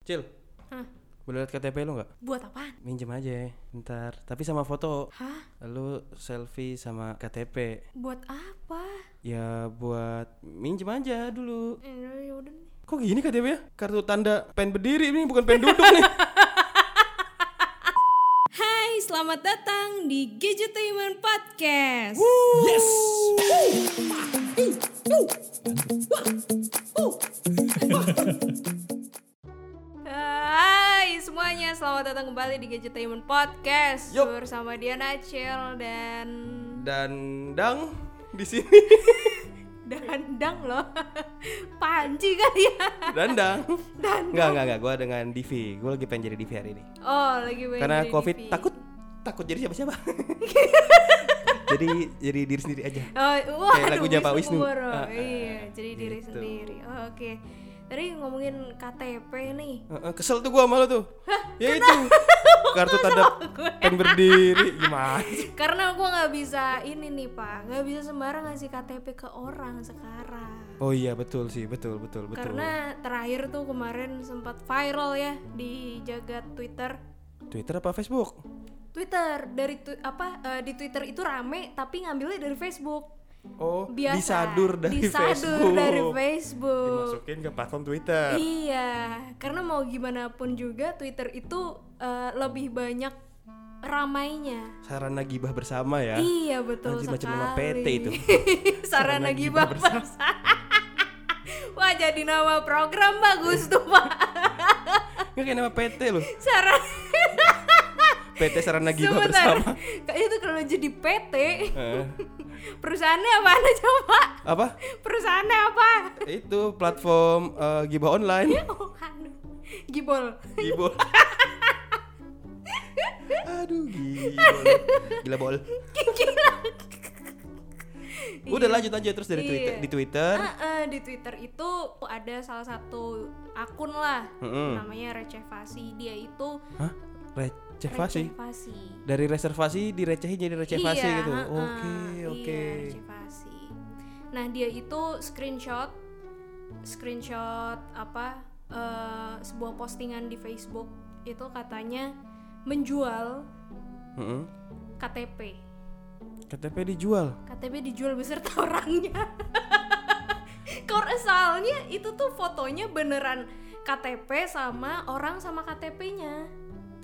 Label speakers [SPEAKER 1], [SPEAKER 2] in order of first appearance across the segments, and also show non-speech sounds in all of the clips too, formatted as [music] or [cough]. [SPEAKER 1] Cil,
[SPEAKER 2] Hah?
[SPEAKER 1] boleh lihat KTP lu nggak?
[SPEAKER 2] Buat apaan?
[SPEAKER 1] Minjem aja, ntar. Tapi sama foto.
[SPEAKER 2] Hah?
[SPEAKER 1] Lu selfie sama KTP.
[SPEAKER 2] Buat apa?
[SPEAKER 1] Ya buat minjem aja dulu.
[SPEAKER 2] Eh, udah- ya udah nih.
[SPEAKER 1] Kok gini KTP-nya? ya? Kartu tanda pen berdiri nih, bukan pen duduk [laughs] nih.
[SPEAKER 2] Hai, selamat datang di Gadgetainment Podcast.
[SPEAKER 1] Yes.
[SPEAKER 2] Hai semuanya, selamat datang kembali di Gadgetainment Podcast
[SPEAKER 1] Yup.
[SPEAKER 2] bersama Diana Cil dan
[SPEAKER 1] Dan dang di sini.
[SPEAKER 2] Dandang loh. [laughs] Panji kali ya.
[SPEAKER 1] [laughs] Dandang.
[SPEAKER 2] Dan
[SPEAKER 1] Enggak, enggak, enggak. Gua dengan Divi. Gua lagi pengen jadi Divi hari ini.
[SPEAKER 2] Oh, lagi main
[SPEAKER 1] Karena
[SPEAKER 2] di
[SPEAKER 1] Covid
[SPEAKER 2] TV.
[SPEAKER 1] takut takut jadi siapa-siapa. jadi jadi diri sendiri aja.
[SPEAKER 2] Oh, wah,
[SPEAKER 1] Kayak lagunya Pak Wisnu.
[SPEAKER 2] Pemboro.
[SPEAKER 1] Ah, ah,
[SPEAKER 2] iya, jadi diri
[SPEAKER 1] gitu.
[SPEAKER 2] sendiri. Oh, Oke. Tadi ngomongin KTP nih.
[SPEAKER 1] Heeh, kesel tuh gua sama lu tuh. ya itu. Kartu tanda pen
[SPEAKER 2] [laughs]
[SPEAKER 1] berdiri gimana? sih?
[SPEAKER 2] Karena gua nggak bisa ini nih, Pak. nggak bisa sembarang ngasih KTP ke orang sekarang.
[SPEAKER 1] Oh iya betul sih, betul betul betul.
[SPEAKER 2] Karena terakhir tuh kemarin sempat viral ya di jagat Twitter.
[SPEAKER 1] Twitter apa Facebook?
[SPEAKER 2] Twitter dari tu- apa eh, di Twitter itu rame tapi ngambilnya dari Facebook.
[SPEAKER 1] Oh,
[SPEAKER 2] Biasa.
[SPEAKER 1] disadur dari
[SPEAKER 2] disadur
[SPEAKER 1] Facebook.
[SPEAKER 2] dari Facebook.
[SPEAKER 1] Dimasukin ke platform Twitter.
[SPEAKER 2] Iya, karena mau gimana pun juga Twitter itu eh, lebih banyak ramainya.
[SPEAKER 1] Sarana gibah bersama ya.
[SPEAKER 2] Iya betul
[SPEAKER 1] Anjir,
[SPEAKER 2] sekali.
[SPEAKER 1] macam nama PT
[SPEAKER 2] [laughs]
[SPEAKER 1] itu.
[SPEAKER 2] Sarana
[SPEAKER 1] Sarana
[SPEAKER 2] gibah
[SPEAKER 1] Gibah
[SPEAKER 2] bersama. [laughs] Wah jadi nama program bagus tuh pak.
[SPEAKER 1] Nggak kayak nama PT loh.
[SPEAKER 2] Sarana.
[SPEAKER 1] PT Sarana Gibah
[SPEAKER 2] Sebentar.
[SPEAKER 1] Bersama.
[SPEAKER 2] Kak, Itu kalau jadi PT,
[SPEAKER 1] Eh,
[SPEAKER 2] [laughs] perusahaannya apa aja coba?
[SPEAKER 1] apa?
[SPEAKER 2] Perusahaannya apa?
[SPEAKER 1] Itu platform eh, gibah online.
[SPEAKER 2] Oh, aduh. Gibol. [laughs]
[SPEAKER 1] Gibol. Aduh, gibol. Gila bol. Udah lanjut aja terus dari
[SPEAKER 2] Iya.
[SPEAKER 1] Twitter di Twitter.
[SPEAKER 2] Ah, eh, di Twitter itu ada salah satu akun lah
[SPEAKER 1] Mm-mm.
[SPEAKER 2] namanya Recevasi dia itu
[SPEAKER 1] Hah? Recevasi?
[SPEAKER 2] Recevasi
[SPEAKER 1] Dari reservasi direcehin jadi recevasi
[SPEAKER 2] iya,
[SPEAKER 1] gitu.
[SPEAKER 2] heeh.
[SPEAKER 1] Oke,
[SPEAKER 2] Iya,
[SPEAKER 1] oke.
[SPEAKER 2] Recevasi nah dia itu screenshot screenshot apa eh, sebuah postingan di Facebook itu katanya menjual
[SPEAKER 1] Heeh.
[SPEAKER 2] KTP
[SPEAKER 1] KTP dijual.
[SPEAKER 2] KTP dijual beserta [laughs] orangnya. Kor asalnya itu tuh fotonya beneran KTP sama orang sama KTP-nya.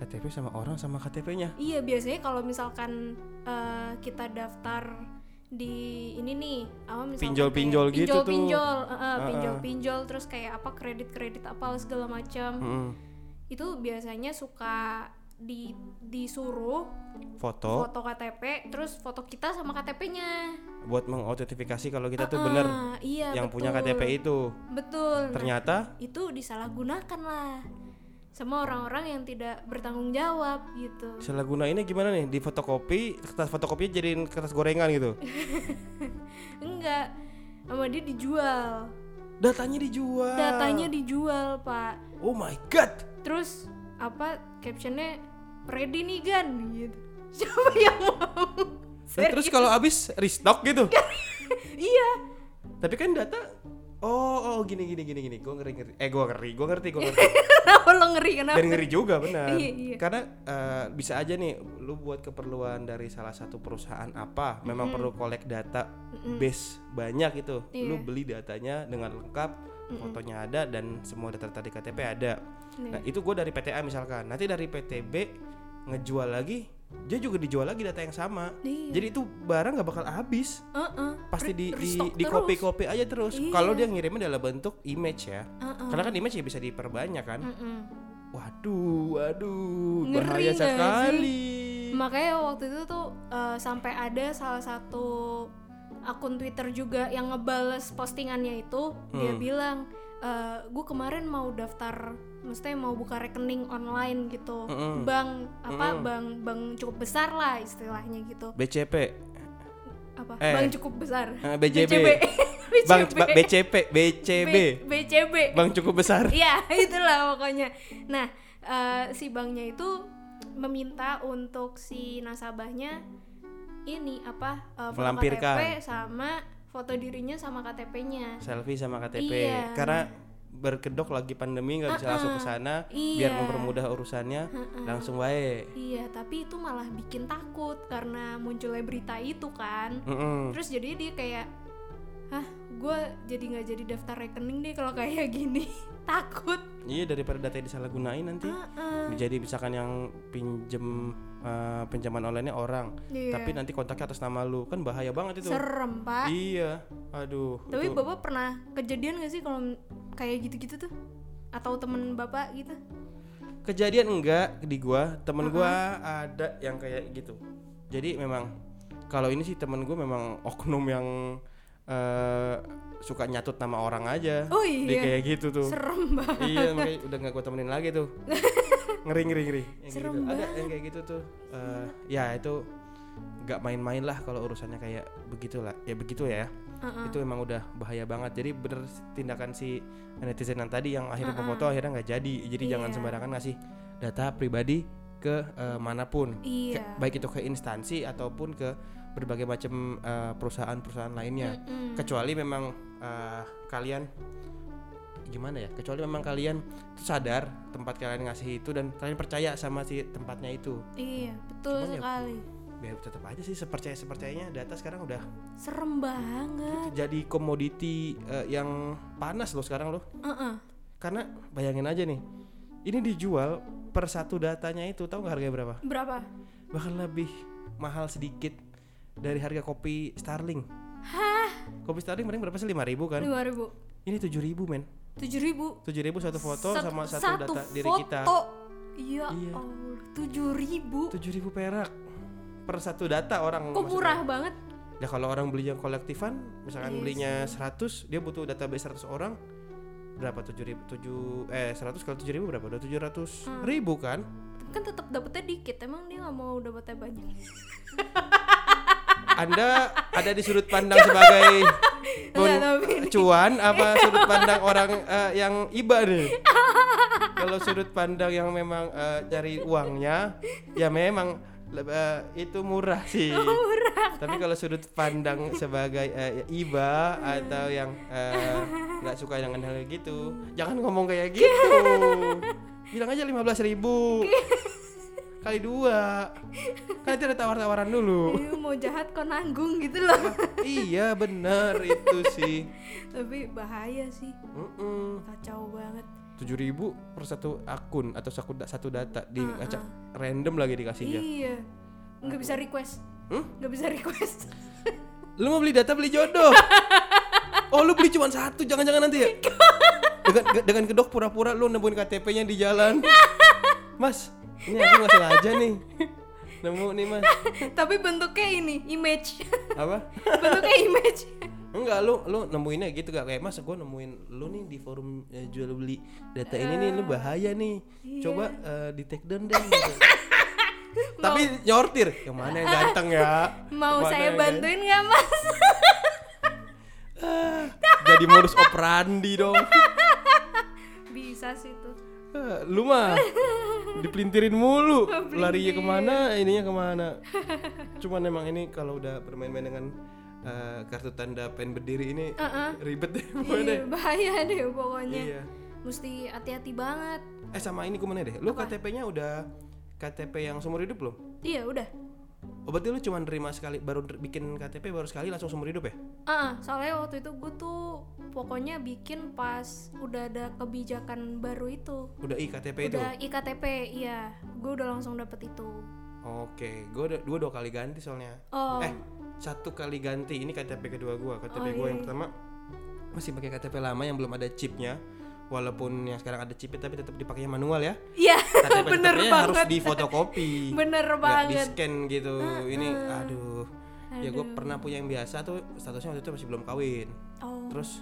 [SPEAKER 1] KTP sama orang sama KTP-nya.
[SPEAKER 2] Iya biasanya kalau misalkan eh, kita daftar di ini nih, apa misalkan
[SPEAKER 1] Pinjol-pinjol
[SPEAKER 2] kayak
[SPEAKER 1] gitu tuh.
[SPEAKER 2] pinjol-pinjol, eh, eh,
[SPEAKER 1] Ah, ah.
[SPEAKER 2] pinjol-pinjol, terus kayak apa kredit-kredit apa segala macam.
[SPEAKER 1] Heeh.
[SPEAKER 2] Itu biasanya suka di disuruh
[SPEAKER 1] Foto
[SPEAKER 2] foto KTP, terus foto kita sama KTP-nya.
[SPEAKER 1] buat mengotentifikasi kalau kita tuh bener
[SPEAKER 2] Ah, iya,
[SPEAKER 1] yang punya
[SPEAKER 2] betul.
[SPEAKER 1] KTP itu.
[SPEAKER 2] Betul. Nah,
[SPEAKER 1] Ternyata
[SPEAKER 2] itu disalahgunakan lah sama orang-orang yang tidak bertanggung jawab gitu.
[SPEAKER 1] salah gunainnya gimana nih? Di fotokopi, kertas fotokopinya jadiin kertas gorengan gitu.
[SPEAKER 2] Enggak. Sama dia dijual.
[SPEAKER 1] Datanya dijual.
[SPEAKER 2] Datanya dijual, Pak.
[SPEAKER 1] Oh my god.
[SPEAKER 2] Terus apa captionnya ready nih gan gitu. [laughs] Siapa yang mau?
[SPEAKER 1] Nah, terus kalau habis restock gitu.
[SPEAKER 2] [laughs] iya. [laughs]
[SPEAKER 1] Tapi kan data Oh, oh gini gini gini gini. Gua ngeri ngeri. Eh gua ngeri, gua ngerti, gua ngerti.
[SPEAKER 2] Kenapa lo ngeri kenapa?
[SPEAKER 1] Dan ngeri juga benar.
[SPEAKER 2] Iya, iya.
[SPEAKER 1] Karena eh, bisa aja nih lu buat keperluan dari salah satu perusahaan apa, memang perlu collect data base banyak itu.
[SPEAKER 2] Iya.
[SPEAKER 1] Lu beli datanya dengan lengkap, fotonya ada dan semua data tadi KTP ada.
[SPEAKER 2] Iya.
[SPEAKER 1] Nah, itu gua dari PTA misalkan. Nanti dari PTB ngejual lagi, dia juga dijual lagi data yang sama.
[SPEAKER 2] Iya.
[SPEAKER 1] Jadi itu barang nggak bakal habis
[SPEAKER 2] Heeh.
[SPEAKER 1] pasti di
[SPEAKER 2] Re-
[SPEAKER 1] di,
[SPEAKER 2] restock
[SPEAKER 1] di
[SPEAKER 2] terus.
[SPEAKER 1] copy copy aja terus
[SPEAKER 2] Iya.
[SPEAKER 1] kalau dia ngirimnya dalam bentuk image ya
[SPEAKER 2] Heeh.
[SPEAKER 1] karena kan image ya bisa diperbanyak kan
[SPEAKER 2] Heeh.
[SPEAKER 1] waduh waduh
[SPEAKER 2] Ngeri
[SPEAKER 1] bahaya
[SPEAKER 2] nggak sih?
[SPEAKER 1] sekali
[SPEAKER 2] Makanya waktu itu tuh eh, sampai ada salah satu akun Twitter juga yang ngebales postingannya itu dia
[SPEAKER 1] Hmm.
[SPEAKER 2] bilang gue kemarin mau daftar maksudnya mau buka rekening online gitu
[SPEAKER 1] Mm-mm.
[SPEAKER 2] bank apa
[SPEAKER 1] Mm-mm.
[SPEAKER 2] bank bank cukup besar lah istilahnya gitu
[SPEAKER 1] BCP
[SPEAKER 2] apa
[SPEAKER 1] Eh.
[SPEAKER 2] bank cukup besar
[SPEAKER 1] Eh, BJB.
[SPEAKER 2] [laughs] BCB
[SPEAKER 1] bang ba- BCP BCB
[SPEAKER 2] B- BCB
[SPEAKER 1] bang cukup besar
[SPEAKER 2] Iya, [laughs] itulah pokoknya. Nah, eh, si banknya itu meminta untuk si nasabahnya ini apa eh, foto
[SPEAKER 1] Melampirkan.
[SPEAKER 2] KTP sama foto dirinya sama KTP-nya.
[SPEAKER 1] selfie sama KTP
[SPEAKER 2] Iya. Uh-uh.
[SPEAKER 1] karena berkedok lagi pandemi nggak bisa langsung ke sana biar
[SPEAKER 2] Iya. Uh-uh.
[SPEAKER 1] mempermudah urusannya langsung wae.
[SPEAKER 2] Iya, tapi itu malah bikin takut karena munculnya berita itu kan.
[SPEAKER 1] Mm-mm.
[SPEAKER 2] Terus jadi dia kayak, hah, gue jadi nggak jadi daftar rekening deh kalau kayak gini. [laughs] Takut.
[SPEAKER 1] Iya daripada data disalahgunain nanti.
[SPEAKER 2] Heeh.
[SPEAKER 1] Jadi misalkan yang pinjem eh, pinjaman online-nya orang,
[SPEAKER 2] Iya.
[SPEAKER 1] tapi nanti kontaknya atas nama lu kan bahaya banget itu.
[SPEAKER 2] Serem pak.
[SPEAKER 1] Iya, aduh.
[SPEAKER 2] Tapi
[SPEAKER 1] itu-
[SPEAKER 2] bapak pernah kejadian gak sih kalau kayak gitu-gitu tuh? Atau temen bapak gitu?
[SPEAKER 1] kejadian enggak di gua temen gua ada yang kayak gitu jadi memang kalau ini sih temen gua memang [laughs] oknum yang eh suka nyatut nama orang aja
[SPEAKER 2] Oh
[SPEAKER 1] dia
[SPEAKER 2] iya.
[SPEAKER 1] kayak gitu tuh
[SPEAKER 2] Serem [laughs] banget.
[SPEAKER 1] iya makanya udah nggak gua temenin lagi
[SPEAKER 2] [laughs]
[SPEAKER 1] tuh ngeri ngeri ngeri Yang kayak
[SPEAKER 2] Serem
[SPEAKER 1] gitu. ada yang kayak gitu tuh Eh, ya itu nggak main-main lah kalau urusannya kayak begitulah ya begitu ya
[SPEAKER 2] Heeh.
[SPEAKER 1] itu emang udah bahaya banget jadi bener tindakan si netizen yang tadi yang akhirnya memfoto akhirnya nggak jadi jadi jangan
[SPEAKER 2] Iya.
[SPEAKER 1] sembarangan ngasih data pribadi ke eh, manapun Ke-
[SPEAKER 2] Iya.
[SPEAKER 1] baik itu ke instansi ataupun ke berbagai macam eh, perusahaan-perusahaan lainnya
[SPEAKER 2] Mm-mm.
[SPEAKER 1] kecuali memang eh, kalian gimana ya kecuali memang kalian tuh sadar tempat kalian ngasih itu dan kalian percaya sama si tempatnya itu
[SPEAKER 2] Iya, betul
[SPEAKER 1] Cuman ya-
[SPEAKER 2] sekali.
[SPEAKER 1] biar tetap aja sih sepercaya sepercayanya data sekarang udah gitu
[SPEAKER 2] Serem banget.
[SPEAKER 1] jadi komoditi eh, yang panas loh sekarang loh
[SPEAKER 2] Heeh.
[SPEAKER 1] karena bayangin aja nih ini dijual per satu datanya itu tahu nggak harganya berapa
[SPEAKER 2] Berapa?
[SPEAKER 1] Kan. bahkan lebih mahal sedikit dari harga kopi Starling
[SPEAKER 2] Hah?
[SPEAKER 1] kopi Starling paling berapa sih lima ribu kan
[SPEAKER 2] Lima ribu.
[SPEAKER 1] ini tujuh ribu men
[SPEAKER 2] Tujuh ribu.
[SPEAKER 1] tujuh ribu satu foto
[SPEAKER 2] Sat-
[SPEAKER 1] sama satu, data diri
[SPEAKER 2] foto.
[SPEAKER 1] kita
[SPEAKER 2] Iya,
[SPEAKER 1] Iya.
[SPEAKER 2] Allah. Tujuh ribu.
[SPEAKER 1] tujuh ribu perak per satu data orang
[SPEAKER 2] Kok murah banget?
[SPEAKER 1] maksudnya. ya kalau orang beli yang kolektifan misalkan
[SPEAKER 2] Iya
[SPEAKER 1] belinya 100 dia butuh database 100 orang berapa tujuh ribu tujuh eh 100 kali tujuh ribu berapa udah tujuh ratus
[SPEAKER 2] Hmm.
[SPEAKER 1] ribu kan
[SPEAKER 2] Kan tetap dapetnya dikit. Emang dia nggak mau dapetnya banyak. [laughs]
[SPEAKER 1] Anda ada di sudut pandang sebagai pun
[SPEAKER 2] Nggak, tapi ini-
[SPEAKER 1] cuan apa sudut pandang orang eh, yang iba nih? Kalau sudut pandang yang memang eh, cari uangnya, ya memang leb- eh, itu murah
[SPEAKER 2] [laughs]
[SPEAKER 1] sih.
[SPEAKER 2] Oh, Murah.
[SPEAKER 1] Tapi kalau sudut pandang sebagai eh, iba atau yang eh, nggak suka dengan hal gitu, jangan ngomong kayak gitu. Bilang aja 15.000 ribu kali dua. Kan itu ada tawar-tawaran dulu.
[SPEAKER 2] Iya, mau jahat kok nanggung gitu
[SPEAKER 1] [laughs]
[SPEAKER 2] loh.
[SPEAKER 1] iya benar itu sih.
[SPEAKER 2] Tapi bahaya sih.
[SPEAKER 1] Mm-mm.
[SPEAKER 2] Kacau banget.
[SPEAKER 1] 7.000 per satu akun atau satu da- satu data di acak random lagi dikasihnya.
[SPEAKER 2] Iya. Nggak bisa request.
[SPEAKER 1] Hmm?
[SPEAKER 2] Nggak bisa request. [laughs]
[SPEAKER 1] Lu mau beli data beli jodoh. oh, lu beli cuma satu, jangan-jangan nanti ya. Dengan ge- dengan kedok pura-pura lu nemuin KTP-nya di jalan. Mas, ini aku nggak sengaja nih. Nemu nih, Mas.
[SPEAKER 2] Tapi bentuknya ini, image. [laughs]
[SPEAKER 1] Apa?
[SPEAKER 2] bentuknya image.
[SPEAKER 1] Enggak, lu lu nemuinnya gitu gak kayak Mas, gue nemuin lu nih di forum eh, jual beli data ini nih lu
[SPEAKER 2] Ah.
[SPEAKER 1] bahaya nih.
[SPEAKER 2] Iya.
[SPEAKER 1] Coba eh, di take down deh.
[SPEAKER 2] [laughs]
[SPEAKER 1] gitu. Tapi nyortir, yang mana yang ganteng ya? Yang
[SPEAKER 2] Mau
[SPEAKER 1] mana
[SPEAKER 2] saya
[SPEAKER 1] yang
[SPEAKER 2] bantuin nggak mas? [laughs]
[SPEAKER 1] ganteng? Ah, Jadi modus operandi dong.
[SPEAKER 2] bisa sih tuh.
[SPEAKER 1] Eh, lu mah dipelintirin mulu. Larinya kemana, ininya kemana. Cuman emang ini kalau udah bermain-main dengan eh, kartu tanda pen berdiri ini ribet deh. pokoknya deh.
[SPEAKER 2] Iya, bahaya deh pokoknya.
[SPEAKER 1] Iya.
[SPEAKER 2] Mesti hati-hati banget.
[SPEAKER 1] Eh sama ini gue mana deh. Lu KTP-nya udah KTP yang seumur hidup belum?
[SPEAKER 2] Iya udah.
[SPEAKER 1] Oh, berarti lu cuma nerima sekali baru ner- bikin KTP baru sekali langsung seumur hidup ya?
[SPEAKER 2] Ah, soalnya waktu itu gue tuh pokoknya bikin pas udah ada kebijakan baru itu.
[SPEAKER 1] Udah iktp itu.
[SPEAKER 2] Udah iktp, iya. Gue udah langsung dapet itu.
[SPEAKER 1] Oke, gue udah gua dua kali ganti soalnya.
[SPEAKER 2] Oh,
[SPEAKER 1] Eh, satu kali ganti. Ini KTP kedua gua. KTP
[SPEAKER 2] Oh,
[SPEAKER 1] gua
[SPEAKER 2] iya,
[SPEAKER 1] yang pertama masih pakai KTP lama yang belum ada chipnya. Walaupun yang sekarang ada chipnya tapi tetap dipakai manual
[SPEAKER 2] [laughs]
[SPEAKER 1] ya.
[SPEAKER 2] iya.
[SPEAKER 1] KTP
[SPEAKER 2] bener
[SPEAKER 1] tetapnya harus
[SPEAKER 2] banget.
[SPEAKER 1] difotokopi.
[SPEAKER 2] [laughs] Bener
[SPEAKER 1] nggak di
[SPEAKER 2] banget.
[SPEAKER 1] scan gitu. Ini aduh. Ya gue pernah punya yang biasa tuh statusnya waktu itu masih belum kawin.
[SPEAKER 2] Oh,
[SPEAKER 1] Terus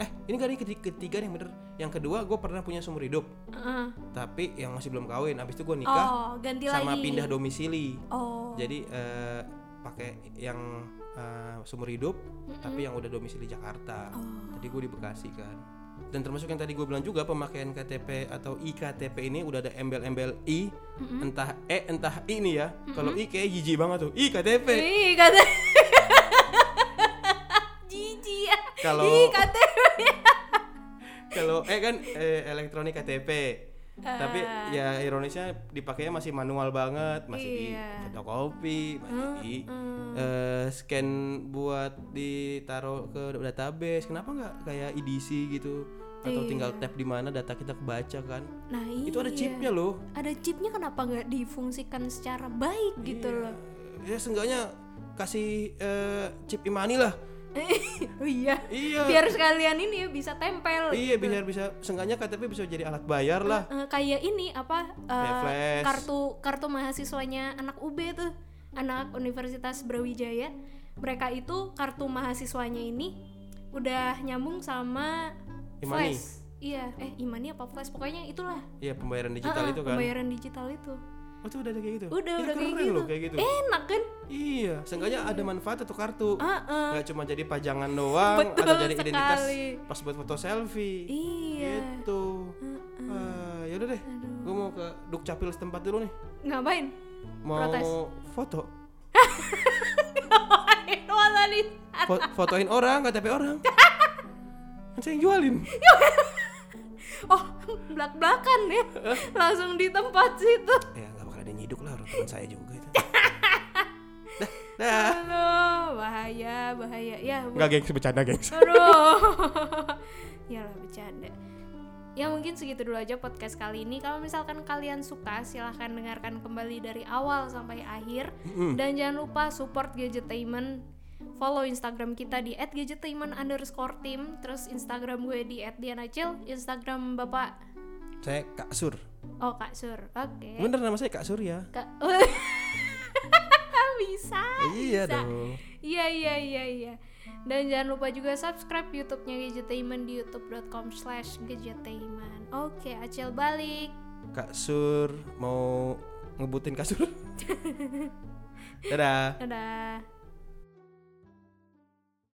[SPEAKER 1] eh ini kan ini keti- ketiga nih bener. Yang kedua gue pernah punya seumur hidup.
[SPEAKER 2] ah.
[SPEAKER 1] tapi yang masih belum kawin habis itu gue nikah
[SPEAKER 2] oh ganti
[SPEAKER 1] sama
[SPEAKER 2] lagi.
[SPEAKER 1] pindah domisili
[SPEAKER 2] Oh,
[SPEAKER 1] jadi eh, pakai yang eh, seumur hidup tapi yang udah domisili Jakarta jadi gue di Bekasi kan dan termasuk yang tadi gue bilang juga pemakaian KTP atau iktp ini udah ada embel-embel i entah e entah i nih ya kalau i kayak jijik banget tuh iktp
[SPEAKER 2] Ih, kata [laughs] Jijik ya.
[SPEAKER 1] Kalau-
[SPEAKER 2] Ih, kata
[SPEAKER 1] kalau eh kan eh, elektronik KTP tapi
[SPEAKER 2] Ah.
[SPEAKER 1] ya ironisnya dipakainya masih manual banget masih di
[SPEAKER 2] Iya.
[SPEAKER 1] fotokopi masih di
[SPEAKER 2] Hmm.
[SPEAKER 1] eh, scan buat ditaruh ke database kenapa nggak kayak EDC gitu atau
[SPEAKER 2] Iya.
[SPEAKER 1] tinggal tap di mana data kita kebaca kan
[SPEAKER 2] Nah,
[SPEAKER 1] itu ada
[SPEAKER 2] iya.
[SPEAKER 1] chipnya loh
[SPEAKER 2] Ada chipnya kenapa nggak difungsikan secara baik gitu
[SPEAKER 1] Iya.
[SPEAKER 2] loh?
[SPEAKER 1] ya seenggaknya kasih eh, chip imani lah
[SPEAKER 2] oh iya.
[SPEAKER 1] iya
[SPEAKER 2] Biar sekalian ini ya bisa tempel.
[SPEAKER 1] iya bisa bisa seenggaknya KTP bisa jadi alat bayar lah
[SPEAKER 2] Eh, kayak ini apa eh,
[SPEAKER 1] Payflash.
[SPEAKER 2] kartu kartu mahasiswanya anak UB tuh anak Universitas Brawijaya mereka itu kartu mahasiswanya ini udah nyambung sama
[SPEAKER 1] Imani.
[SPEAKER 2] flash iya eh imani apa flash pokoknya itulah
[SPEAKER 1] iya pembayaran digital
[SPEAKER 2] Ah, ah,
[SPEAKER 1] itu kan
[SPEAKER 2] pembayaran digital itu
[SPEAKER 1] oh itu udah ada kayak gitu
[SPEAKER 2] udah
[SPEAKER 1] Iya,
[SPEAKER 2] udah
[SPEAKER 1] keren
[SPEAKER 2] kayak gitu.
[SPEAKER 1] loh kayak gitu
[SPEAKER 2] enak kan
[SPEAKER 1] iya seenggaknya ada manfaat atau kartu
[SPEAKER 2] Ah, ah.
[SPEAKER 1] nggak cuma jadi pajangan doang atau
[SPEAKER 2] Betul
[SPEAKER 1] jadi identitas
[SPEAKER 2] sekali.
[SPEAKER 1] pas buat foto selfie
[SPEAKER 2] iya
[SPEAKER 1] gitu Ah, yaudah deh gue mau ke dukcapil setempat dulu nih
[SPEAKER 2] ngapain
[SPEAKER 1] mau
[SPEAKER 2] Protes.
[SPEAKER 1] foto
[SPEAKER 2] [laughs] ngapain [laughs] wala nih
[SPEAKER 1] Fo- fotoin orang KTP
[SPEAKER 2] [laughs]
[SPEAKER 1] orang kan saya yang jualin
[SPEAKER 2] oh belak belakan ya langsung di tempat situ
[SPEAKER 1] ya nggak bakal ada yang nyiduk lah orang teman saya juga
[SPEAKER 2] [laughs]
[SPEAKER 1] itu dah dah
[SPEAKER 2] Halo, bahaya, bahaya. Ya, bu-
[SPEAKER 1] nggak gengs bercanda gengs
[SPEAKER 2] aduh. [laughs] ya lah bercanda. Ya mungkin segitu dulu aja podcast kali ini. Kalau misalkan kalian suka, silahkan dengarkan kembali dari awal sampai akhir.
[SPEAKER 1] Mm-mm.
[SPEAKER 2] Dan jangan lupa support Gadgetainment. Follow Instagram kita di @gadgetainment underscore team. Terus Instagram gue di @dianacil. Instagram bapak.
[SPEAKER 1] saya Kak Sur
[SPEAKER 2] Oh Kak Sur. Oke.
[SPEAKER 1] bener nama saya Kak Surya
[SPEAKER 2] Kak. [laughs] Bisa.
[SPEAKER 1] iya
[SPEAKER 2] bisa.
[SPEAKER 1] dong
[SPEAKER 2] Iya iya iya iya. Dan jangan lupa juga subscribe YouTube-nya Gadgetainment di youtube.com slash Gadgetainment. Oke, acil balik.
[SPEAKER 1] Kak Sur mau ngebutin kasur dadah
[SPEAKER 2] Dadah.